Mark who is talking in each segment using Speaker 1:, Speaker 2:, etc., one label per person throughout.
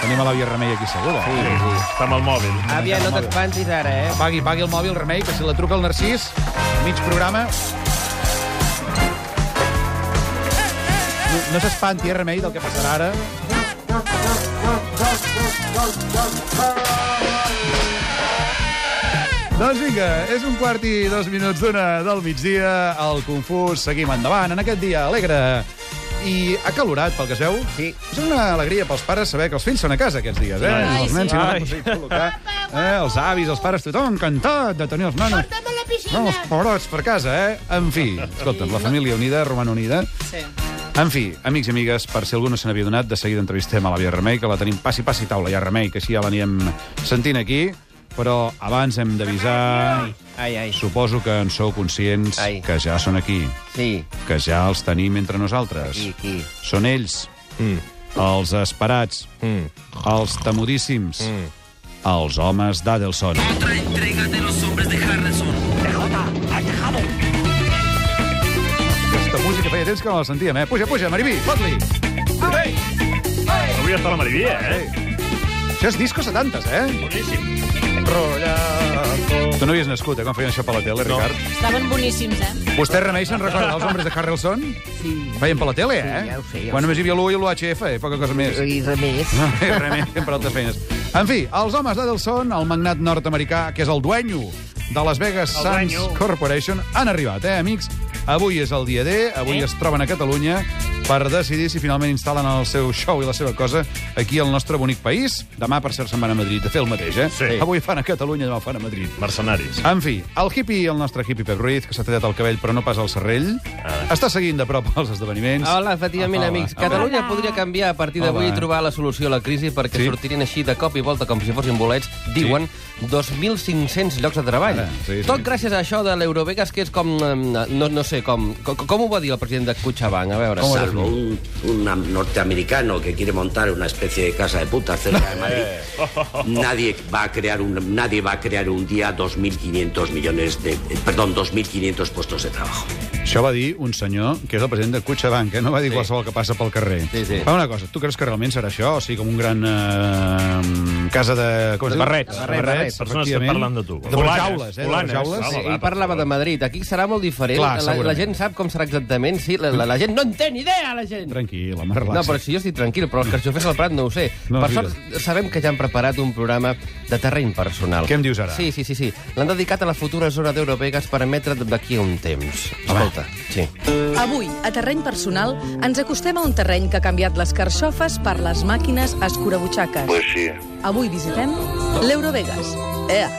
Speaker 1: Tenim a l'àvia Remei aquí eh? segura. Sí.
Speaker 2: Està amb el mòbil.
Speaker 3: Àvia, no t'espantis ara, eh?
Speaker 1: Pagui, pagui el mòbil Remei, que si la truca el Narcís, mig programa... No, no s'espanti, eh, Remei, del que passarà ara. Doncs vinga, és un quart i dos minuts d'una del migdia. El Confús, seguim endavant en aquest dia alegre i acalorat, pel que es veu.
Speaker 3: Sí.
Speaker 1: És una alegria pels pares saber que els fills són a casa aquests dies, eh?
Speaker 4: Ai,
Speaker 1: els nens
Speaker 4: sí.
Speaker 1: s'hi van
Speaker 2: Ai.
Speaker 1: aconseguir col·locar. Eh, els avis, els pares, tothom encantat de tenir els nanos.
Speaker 4: Porta'm a la piscina.
Speaker 1: No, els pobrots per casa, eh? En fi, escolta'm, la família unida, roman unida.
Speaker 4: Sí.
Speaker 1: En fi, amics i amigues, per si algú no se n'havia donat, de seguida entrevistem a l'àvia Remei, que la tenim passi, passi taula, ja Remei, que així ja l'anirem sentint aquí, però abans hem d'avisar...
Speaker 3: Ai, ai.
Speaker 1: Suposo que en sou conscients
Speaker 3: Ai.
Speaker 1: que ja són aquí,
Speaker 3: Sí,
Speaker 1: que ja els tenim entre nosaltres.
Speaker 3: aquí, aquí.
Speaker 1: Són ells,
Speaker 2: Mm.
Speaker 1: els esperats,
Speaker 2: Mm.
Speaker 1: els temudíssims, els homes d'Adelson.
Speaker 5: Otra entrega de los hombres de Harrison. TJ, ha llegado.
Speaker 1: Aquesta música feia temps que no la sentíem, eh? Puja, puja, Mariví, fot-li!
Speaker 2: Avui està la Marivia, eh?
Speaker 1: Això és disco 70, eh?
Speaker 2: Boníssim.
Speaker 1: Tu no havies nascut, eh, quan feien això per la tele, no. Ricard?
Speaker 4: Estaven boníssims, eh?
Speaker 1: Vostè, Remei, se'n recorda dels homes de Harrelson?
Speaker 3: Sí.
Speaker 1: Feien per la tele,
Speaker 3: Sí,
Speaker 1: eh?
Speaker 3: ja ho sé, ja ho
Speaker 1: quan només hi havia l'1 i l'1HF, eh? Poca cosa més.
Speaker 3: I res més.
Speaker 1: No, Remei, per altres feines. En fi, els homes d'Adelson, el magnat nord-americà, que és el duenyo de Las Vegas
Speaker 2: El
Speaker 1: Sands
Speaker 2: duenyo.
Speaker 1: Corporation, han arribat, eh, amics? Avui és el dia D, avui
Speaker 2: Eh?
Speaker 1: es troben a Catalunya per decidir si finalment instal·len el seu show i la seva cosa aquí al nostre bonic país. Demà, per cert, se'n van a Madrid a fer el mateix, eh?
Speaker 2: Sí.
Speaker 1: Avui fan a Catalunya, demà ho fan a Madrid.
Speaker 2: Mercenaris.
Speaker 1: En fi, el hippie, el nostre hippie Pep Ruiz, que s'ha tallat el cabell però no pas el serrell,
Speaker 2: Ah.
Speaker 1: està seguint de prop els esdeveniments.
Speaker 3: Hola, efectivament,
Speaker 1: Hola.
Speaker 3: amics.
Speaker 1: Hola.
Speaker 3: Catalunya podria canviar a partir d'avui i
Speaker 1: Hola.
Speaker 3: trobar la solució a la crisi perquè
Speaker 1: Sí.
Speaker 3: sí. sortirien així de cop i volta com si fossin bolets, diuen 2.500 llocs de treball.
Speaker 1: Ara, Ah, sí, sí.
Speaker 3: Tot gràcies a això de l'Eurovegas, que és com... eh, No, no sé, com, com, com ho va dir el president de Cutxabank? A veure,
Speaker 1: Com ho
Speaker 6: Salvo un, un am- norteamericano que quiere montar una especie de casa de putas cerca de Madrid, nadie va a crear un, nadie va a crear un día 2.500 millones de, eh, perdón, 2.500 puestos de trabajo.
Speaker 1: Això va dir un senyor que és el president de Cutxabank, eh? no va dir sí. qualsevol que passa pel carrer.
Speaker 3: Sí, sí.
Speaker 1: Fa una cosa, tu creus que realment serà això? O sigui, com un gran eh, casa de... Com es diu?
Speaker 2: barrets.
Speaker 1: De
Speaker 3: De barrets.
Speaker 2: Persones que
Speaker 1: efectivament.
Speaker 2: parlen de tu.
Speaker 1: De barjaules, eh?
Speaker 2: Bolanes.
Speaker 1: De barjaules.
Speaker 2: Bolanes.
Speaker 1: Sí.
Speaker 2: va,
Speaker 3: Ell parlava de Madrid. Aquí serà molt diferent.
Speaker 1: Clar,
Speaker 3: la, la
Speaker 1: segurament.
Speaker 3: gent sap com serà exactament. Sí, la, la, la gent no en té ni idea, la gent!
Speaker 1: Tranquil, home, relaxa.
Speaker 3: No, però si jo estic tranquil, però els carxofers al Prat no ho sé.
Speaker 1: No,
Speaker 3: No, per
Speaker 1: mira.
Speaker 3: sort, sabem que ja han preparat un programa de terreny personal.
Speaker 1: Què em dius ara?
Speaker 3: Sí, sí, sí. sí. L'han dedicat a la futura zona d'Eurovegas per emetre d'aquí a un temps.
Speaker 1: Home.
Speaker 3: Escolta, sí.
Speaker 7: Avui, a terreny personal, ens acostem a un terreny que ha canviat les carxofes per les màquines escurabutxaques. Pues sí. Avui visitem l'Eurovegas. Ea!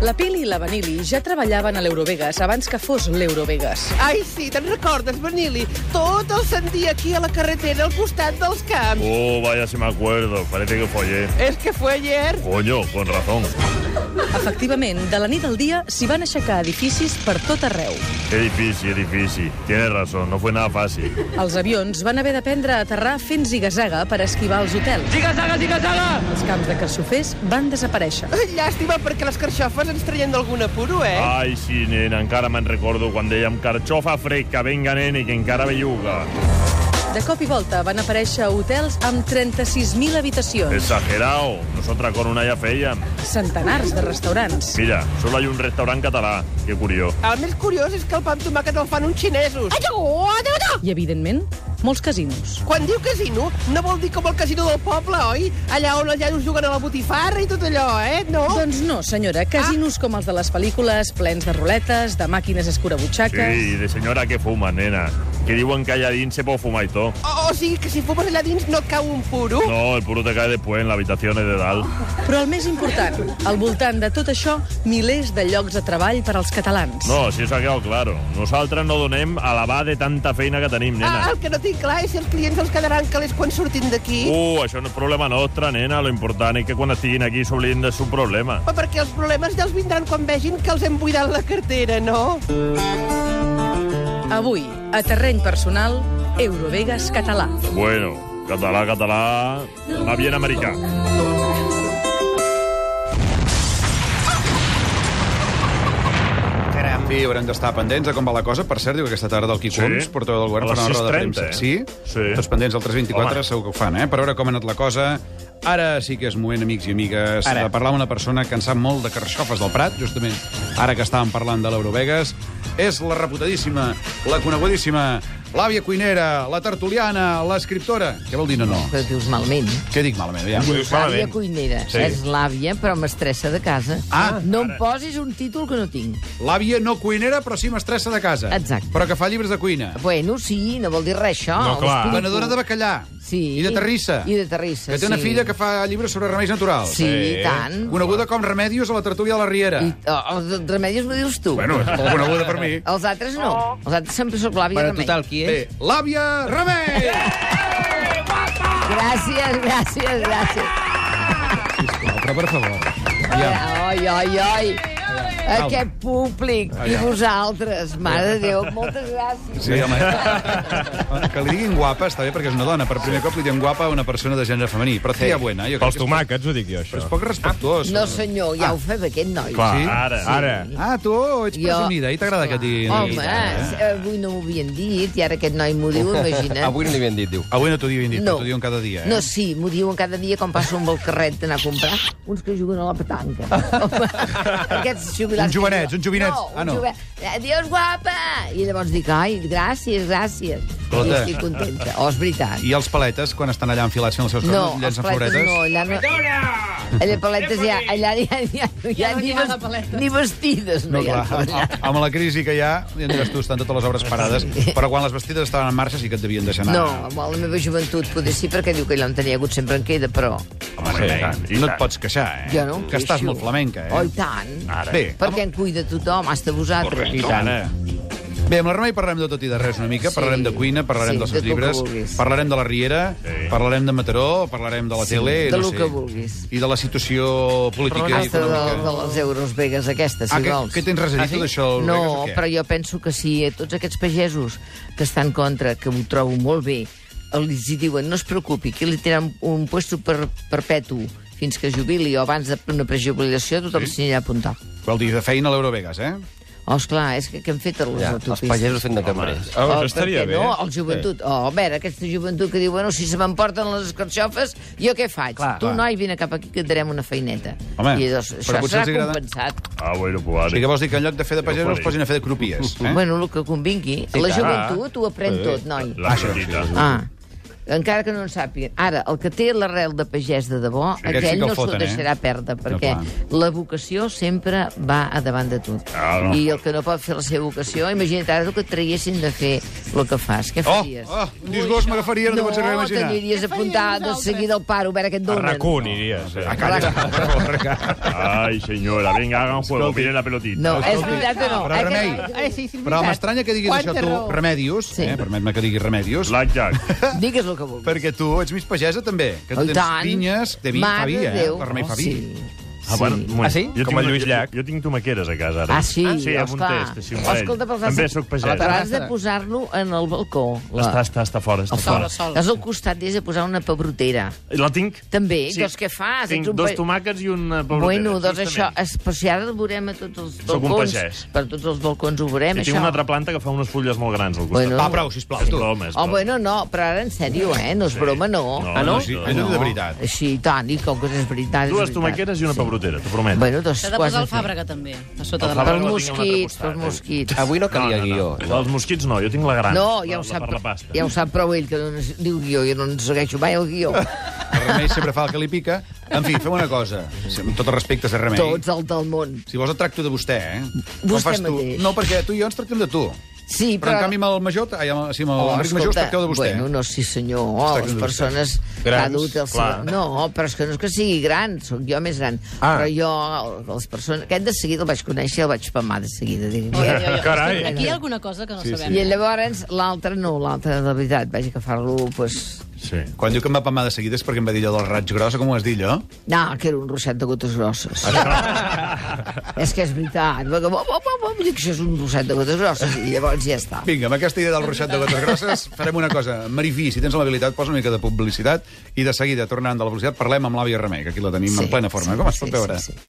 Speaker 7: La Pili i la Vanili ja treballaven a l'Eurovegas abans que fos l'Eurovegas.
Speaker 8: Ai, sí, te'n recordes, Vanili? Tot el sant dia aquí a la carretera, al costat dels camps.
Speaker 2: Oh, vaya si me acuerdo. Parece que follé.
Speaker 8: És que fue ayer.
Speaker 2: Coño, con razón.
Speaker 7: Efectivament, de la nit al dia s'hi van aixecar edificis per tot arreu.
Speaker 2: Qué difícil, difícil. Tienes razón, no fue nada fácil.
Speaker 7: Els avions van haver d'aprendre a aterrar fent zigazaga per esquivar els hotels. Zigazaga, zigazaga! Els camps de carxofers van desaparèixer.
Speaker 8: Llàstima, perquè les carxofes ens traien d'algun apuro, eh?
Speaker 2: Ai, sí, nena, encara me'n recordo quan dèiem carxofa fresca, venga, nene, que encara belluga.
Speaker 7: De cop i volta van aparèixer hotels amb 36.000 habitacions,
Speaker 2: Exagerao. Nosaltres con una ja fèiem.
Speaker 7: centenars de restaurants.
Speaker 2: Mira, solo hay un restaurant català. Que curiós.
Speaker 8: El més curiós és que el pa amb tomàquet el fan uns xinesos.
Speaker 7: I, evidentment, molts casinos.
Speaker 8: Quan diu casino, no vol dir com el casino del poble, oi? Allà on els iaios juguen a la botifarra i tot allò, eh? No?
Speaker 7: Doncs no, senyora, casinos com els de les pel·lícules, plens de ruletes, de màquines escurabutxaques...
Speaker 2: Sí, de senyora que fuma, nena. Que diuen que allà dins se pot fumar i tot.
Speaker 8: O, o sigui que si fumes allà dins no et cau un puro?
Speaker 2: No, el puro te cae después en la habitación de dalt.
Speaker 7: Però el més important, al voltant de tot això, milers de llocs de treball per als catalans.
Speaker 2: No, si eso ha quedado claro. Nosaltres no donem a l'avar de tanta feina que tenim, nena.
Speaker 8: Ah, el que no tinc clar és si els clients els quedaran calés quan surtin d'aquí.
Speaker 2: Uh, això no és problema nostre, nena. Lo important és que quan estiguin aquí s'oblidin de su problema.
Speaker 8: Però perquè els problemes ja els vindran quan vegin que els hem buidat la cartera, no?
Speaker 7: Avui, a terreny personal, Eurovegas català.
Speaker 2: Bueno, català, català... Va bien americà.
Speaker 8: Caram,
Speaker 1: principi haurem d'estar pendents de com va la cosa. Per cert, diu que aquesta tarda el Quico
Speaker 2: Sí.
Speaker 1: Homs, portaveu del govern,
Speaker 2: A les
Speaker 1: farà una roda de
Speaker 2: 6:30,
Speaker 1: premsa.
Speaker 2: eh?
Speaker 1: Sí?
Speaker 2: Sí.
Speaker 1: Tots pendents del 324,
Speaker 2: Home.
Speaker 1: segur que ho fan, eh? Per veure com ha anat la cosa. Ara sí que és moment, amics i amigues,
Speaker 4: Ara.
Speaker 1: de parlar amb una persona que en sap molt de carxofes del Prat, justament ara que estàvem parlant de l'Eurovegas. És la reputadíssima, la conegudíssima, l'àvia cuinera, la tertuliana, l'escriptora... Què vol dir no, no?
Speaker 9: Però dius malment.
Speaker 1: Què dic malament?
Speaker 2: Ho
Speaker 1: Aviam.
Speaker 2: dius
Speaker 9: L'àvia
Speaker 2: malament.
Speaker 9: cuinera.
Speaker 2: Sí.
Speaker 9: Sí. És l'àvia, però mestressa de casa.
Speaker 1: Ah.
Speaker 9: no em posis un títol que no tinc.
Speaker 1: L'àvia no cuinera, però sí mestressa de casa.
Speaker 9: Exacte.
Speaker 1: Però que fa llibres de cuina.
Speaker 9: Bueno, sí, no vol dir res, això.
Speaker 2: No, clar.
Speaker 9: L'explico.
Speaker 1: Ah, Venedora de bacallà.
Speaker 9: Sí.
Speaker 1: I de terrissa.
Speaker 9: I de terrissa,
Speaker 1: Que té una
Speaker 9: sí.
Speaker 1: filla que fa llibres sobre remeis naturals.
Speaker 9: Sí, i tant.
Speaker 1: Coneguda com Remedios a la tertúlia de la Riera.
Speaker 9: I, oh, els remedis m'ho dius tu.
Speaker 1: Bueno, és molt coneguda per mi.
Speaker 9: Els altres no. Els altres sempre sóc l'àvia
Speaker 3: Però,
Speaker 9: remei.
Speaker 3: total, qui és?
Speaker 1: Bé, l'àvia Remei!
Speaker 9: Gràcies, gràcies, gràcies.
Speaker 1: Però, per favor. Ja.
Speaker 9: Ai, ai, ai. Aquest públic i vosaltres, mare de Déu, moltes gràcies.
Speaker 1: Sí, home. Que li diguin guapa està bé perquè és una dona. Per primer cop li diuen guapa a una persona de gènere femení. Però tia buena. eh? Jo crec
Speaker 4: Pels
Speaker 1: que és,
Speaker 4: tomàquets ho dic jo,
Speaker 1: però
Speaker 4: això.
Speaker 1: és poc respectuós.
Speaker 9: No, senyor, ja ho fem, aquest noi.
Speaker 4: Clar,
Speaker 1: Sí?
Speaker 4: ara. Ara.
Speaker 1: Ah, tu ets
Speaker 9: Jo-
Speaker 1: presumida eh? i t'agrada que et diguin...
Speaker 9: Home,
Speaker 1: Eh?
Speaker 9: eh? avui no m'ho havien dit, i ara aquest noi m'ho diu, imagina't.
Speaker 3: Avui no li havien dit, diu.
Speaker 1: Avui no t'ho diuen dit,
Speaker 9: No.
Speaker 1: t'ho diuen cada dia. Eh?
Speaker 9: No, sí, m'ho diuen cada dia quan passo amb el carret d'anar a comprar. Uns que juguen a la petanca. Aquests jubilats...
Speaker 1: Uns jovenets,
Speaker 9: que juguen-
Speaker 1: uns jovinets.
Speaker 9: No,
Speaker 1: Ah,
Speaker 9: ah,
Speaker 1: no.
Speaker 9: no. Joven... Adiós, guapa! I llavors dic, ai, gràcies, gràcies.
Speaker 1: Escolta.
Speaker 9: I estic contenta. Oh, és veritat.
Speaker 1: I els paletes, quan estan allà enfilats fent els seus
Speaker 9: No,
Speaker 1: coses,
Speaker 9: els
Speaker 1: llencen
Speaker 9: paletes
Speaker 1: floretes?
Speaker 9: no, allà no... Allà paletes ja, allà ja, ja, ja, ja
Speaker 7: no
Speaker 9: ni,
Speaker 7: n'hi ha de
Speaker 9: vest,
Speaker 7: paletes.
Speaker 9: ni vestides
Speaker 1: No,
Speaker 9: no, no hi ha.
Speaker 1: clar,
Speaker 9: per allà.
Speaker 1: amb, amb la crisi que hi ha, ja em diràs tu, estan totes les obres parades, però quan les vestides estaven en marxa sí que et devien deixar
Speaker 9: No,
Speaker 1: anar.
Speaker 9: amb la meva joventut poder sí, perquè diu que allà on tenia hagut sempre en queda, però
Speaker 1: Home, sí,
Speaker 2: i tant, i
Speaker 1: no et
Speaker 2: tant.
Speaker 1: pots queixar, eh?
Speaker 9: jo no em
Speaker 1: que estàs
Speaker 9: queixo.
Speaker 1: molt flamenca, eh?
Speaker 9: Oh, i tant.
Speaker 1: Ara. Bé,
Speaker 9: Perquè en cuida tothom, hasta vosaltres.
Speaker 1: I tant. Bé, amb la Remei parlarem de tot i de res una mica.
Speaker 9: Sí.
Speaker 1: Parlarem de cuina, parlarem
Speaker 9: Sí,
Speaker 1: dels
Speaker 9: de
Speaker 1: seus
Speaker 9: tu que
Speaker 1: llibres,
Speaker 9: vulguis.
Speaker 1: parlarem de la Riera, parlarem de Mataró, parlarem de la
Speaker 9: Sí,
Speaker 1: tele...
Speaker 9: de
Speaker 1: no
Speaker 9: lo
Speaker 1: sé,
Speaker 9: que vulguis.
Speaker 1: I de la situació política i
Speaker 9: Hasta de,
Speaker 1: econòmica.
Speaker 9: de les Euros Vegas aquestes, si
Speaker 1: Ah, que,
Speaker 9: vols.
Speaker 1: que tens res a dir, tu, d'això? del Vegas,
Speaker 9: No,
Speaker 1: o què?
Speaker 9: però jo penso que si a tots aquests pagesos que estan contra, que ho trobo molt bé, els hi diuen, no es preocupi, que li tenen un puesto per, perpetu fins que es jubili o abans d'una prejubilació, tothom s'hi anirà a apuntar.
Speaker 1: Vol dir, de feina a l'Eurovegas, eh?
Speaker 9: Oh, esclar, és que, que hem fet a les
Speaker 3: Ja, els
Speaker 9: autopistes.
Speaker 3: pagesos fent de cambrers.
Speaker 4: Ah,
Speaker 9: Oh,
Speaker 4: això estaria
Speaker 9: per què
Speaker 4: bé.
Speaker 9: No, el joventut. Oh, a veure, aquesta joventut que diu, bueno, si se m'emporten les escarxofes, jo què faig? Clar, tu,
Speaker 1: clar.
Speaker 9: noi, vine cap aquí que et darem una feineta.
Speaker 1: Home,
Speaker 9: I llavors,
Speaker 1: però
Speaker 9: això
Speaker 1: potser
Speaker 9: serà
Speaker 1: els agrada-
Speaker 9: compensat.
Speaker 2: Ah, bueno, pues,
Speaker 1: O sigui, que vols dir que en lloc de fer de pagesos els
Speaker 2: faré.
Speaker 1: posin a fer de crupiers,
Speaker 9: Eh?
Speaker 1: eh?
Speaker 9: Bueno, el que convingui. Sí, la joventut ho aprèn sí. tot, noi.
Speaker 2: La petita.
Speaker 9: Ah. Encara que no en sàpiguen. Ara, el que té l'arrel de pagès de debò, sí,
Speaker 1: Aquest sí
Speaker 9: aquell
Speaker 1: que el
Speaker 9: no s'ho
Speaker 1: foten, eh?
Speaker 9: deixarà perdre, perquè
Speaker 1: clar.
Speaker 9: la vocació sempre va a davant de tot.
Speaker 2: Ah, no.
Speaker 9: I el que no pot fer la seva vocació, imagina't ara el que et traguessin de fer el que fas. Què
Speaker 1: Oh,
Speaker 9: faries?
Speaker 1: oh, un disgust m'agafaria, no, no t'ho pots
Speaker 9: no
Speaker 1: reimaginar.
Speaker 9: t'aniries a apuntar de seguida al paro, a veure què et donen.
Speaker 4: Racó aniries. Eh?
Speaker 1: Ah, calla, corre,
Speaker 2: Ay, señora, venga, hagan juego, miren la pelotita.
Speaker 9: No, és veritat o no? Eh,
Speaker 1: Però,
Speaker 9: Aquest-
Speaker 1: Remei,
Speaker 8: Ai, sí, sí, és
Speaker 1: Però
Speaker 8: veritat.
Speaker 1: m'estranya que diguis
Speaker 8: Quanta
Speaker 1: això tu,
Speaker 8: raó.
Speaker 1: Remedios,
Speaker 9: Sí.
Speaker 1: eh, permet-me que digui Remedios,
Speaker 2: Blackjack.
Speaker 9: Digues el que vulguis.
Speaker 1: perquè tu ets mig pagesa, també, que tu
Speaker 9: Oh, i
Speaker 1: tens
Speaker 9: tant.
Speaker 1: pinyes, de vi, fa
Speaker 9: Mare
Speaker 1: vi,
Speaker 9: de
Speaker 1: eh?
Speaker 9: Déu. Oh,
Speaker 1: El remei fa vi.
Speaker 9: Sí.
Speaker 2: Ah, bueno, bueno,
Speaker 3: Ah, sí?
Speaker 2: Jo
Speaker 4: Com
Speaker 2: tinc-
Speaker 4: el Lluís
Speaker 2: jo-
Speaker 4: Llach.
Speaker 2: Jo, tinc tomaqueres a casa, ara.
Speaker 9: Ah, sí?
Speaker 2: sí, amb un
Speaker 9: esclar.
Speaker 2: test, sí, un parell.
Speaker 9: Escolta, però
Speaker 2: També
Speaker 9: has,
Speaker 2: soc
Speaker 9: de-
Speaker 2: pagès.
Speaker 9: però has de posar-lo en el balcó. La...
Speaker 2: Està, està, està fora, està fora. Eh,
Speaker 9: Estàs al costat, i has de posar una pebrotera.
Speaker 2: La tinc?
Speaker 9: També,
Speaker 2: Sí.
Speaker 9: doncs què fas?
Speaker 2: Tinc
Speaker 9: Ets un
Speaker 2: dos
Speaker 9: pa-
Speaker 2: tomàquets i una pebrotera.
Speaker 9: Bueno, doncs això,
Speaker 2: justament.
Speaker 9: es, però si ara el veurem a tots els
Speaker 2: Sóc un
Speaker 9: balcons,
Speaker 2: pagès.
Speaker 9: per tots els balcons ho veurem,
Speaker 2: I tinc
Speaker 9: això.
Speaker 2: una altra planta que fa unes fulles molt grans al costat.
Speaker 9: Bueno.
Speaker 1: Va, prou, sisplau,
Speaker 2: És
Speaker 1: tu.
Speaker 2: broma, és
Speaker 9: Oh,
Speaker 2: broma.
Speaker 9: bueno, no, però ara en sèrio, eh? No és broma, no.
Speaker 2: No,
Speaker 9: ah,
Speaker 2: no,
Speaker 9: no?
Speaker 1: Sí,
Speaker 2: No,
Speaker 1: això és de veritat.
Speaker 9: Sí, i tant, i com que és veritat, és
Speaker 2: Dues
Speaker 9: veritat.
Speaker 2: tomaqueres i una pebrotera, t'ho prometo.
Speaker 9: Bueno, doncs...
Speaker 10: S'ha de
Speaker 9: ho has
Speaker 10: posar el
Speaker 9: fer.
Speaker 10: Fàbrega, també, a sota
Speaker 2: El
Speaker 10: de la...
Speaker 2: Fàbrega. no
Speaker 9: Pels
Speaker 2: tinc un altre
Speaker 9: mosquits,
Speaker 2: costat,
Speaker 9: pels
Speaker 2: eh?
Speaker 9: mosquits.
Speaker 3: Avui no calia
Speaker 2: no,
Speaker 3: guió.
Speaker 2: no, no. Els mosquits no, jo tinc la gran.
Speaker 9: No,
Speaker 2: la-
Speaker 9: ja ho,
Speaker 2: la
Speaker 9: sap,
Speaker 2: per la pasta.
Speaker 9: ja ho sap prou ell, que no ne- diu guió, jo no en segueixo mai el guió.
Speaker 1: El remei sempre fa el que li pica. En fi, fem una cosa, Sí, amb tot el respecte a remei.
Speaker 9: Tots el del món.
Speaker 1: Si vols et tracto de vostè, eh?
Speaker 9: Vostè
Speaker 1: Com fas tu?
Speaker 9: mateix.
Speaker 1: No, perquè tu i jo ens tractem de tu.
Speaker 9: Sí,
Speaker 1: Però, en
Speaker 9: però...
Speaker 1: canvi amb el major, ai, amb, sí, amb
Speaker 9: Oh,
Speaker 1: l'Enric Major us
Speaker 9: escolta,
Speaker 1: tracteu de vostè.
Speaker 9: Bueno, no, sí senyor, oh,
Speaker 1: tractem
Speaker 9: les
Speaker 1: de vostè.
Speaker 9: persones
Speaker 4: Grans,
Speaker 9: que ha dut el seu...
Speaker 4: clar.
Speaker 9: No, però és que no és que sigui gran, sóc jo més gran.
Speaker 4: Ah.
Speaker 9: Però jo, les persones... Aquest de seguida el vaig conèixer i el vaig pamar de seguida. Dic,
Speaker 10: Oi, oi, oi.
Speaker 4: Carai.
Speaker 10: Escolta, Aquí hi ha alguna cosa que no sabem.
Speaker 9: I llavors l'altre no, l'altre de veritat, vaig agafar-lo, doncs... Pues...
Speaker 2: Sí.
Speaker 1: Quan diu que em va pamar de seguida és perquè em va dir allò del raig gros, com ho has dit, allò?
Speaker 9: No, que era un roset de gotes grosses. és que és veritat. perquè, Bo, bo, bo, bo, dic, això és un roset de gotes grosses. I llavors ja està.
Speaker 1: Vinga, amb aquesta idea del ruixat de gotes grosses farem una cosa. Marifi, si tens l'habilitat, posa una mica de publicitat i de seguida, tornant de la publicitat, parlem amb l'àvia Remei, que aquí la tenim
Speaker 9: Sí,
Speaker 1: en plena forma,
Speaker 9: sí,
Speaker 1: com es
Speaker 9: sí,
Speaker 1: pot veure.
Speaker 9: sí, sí.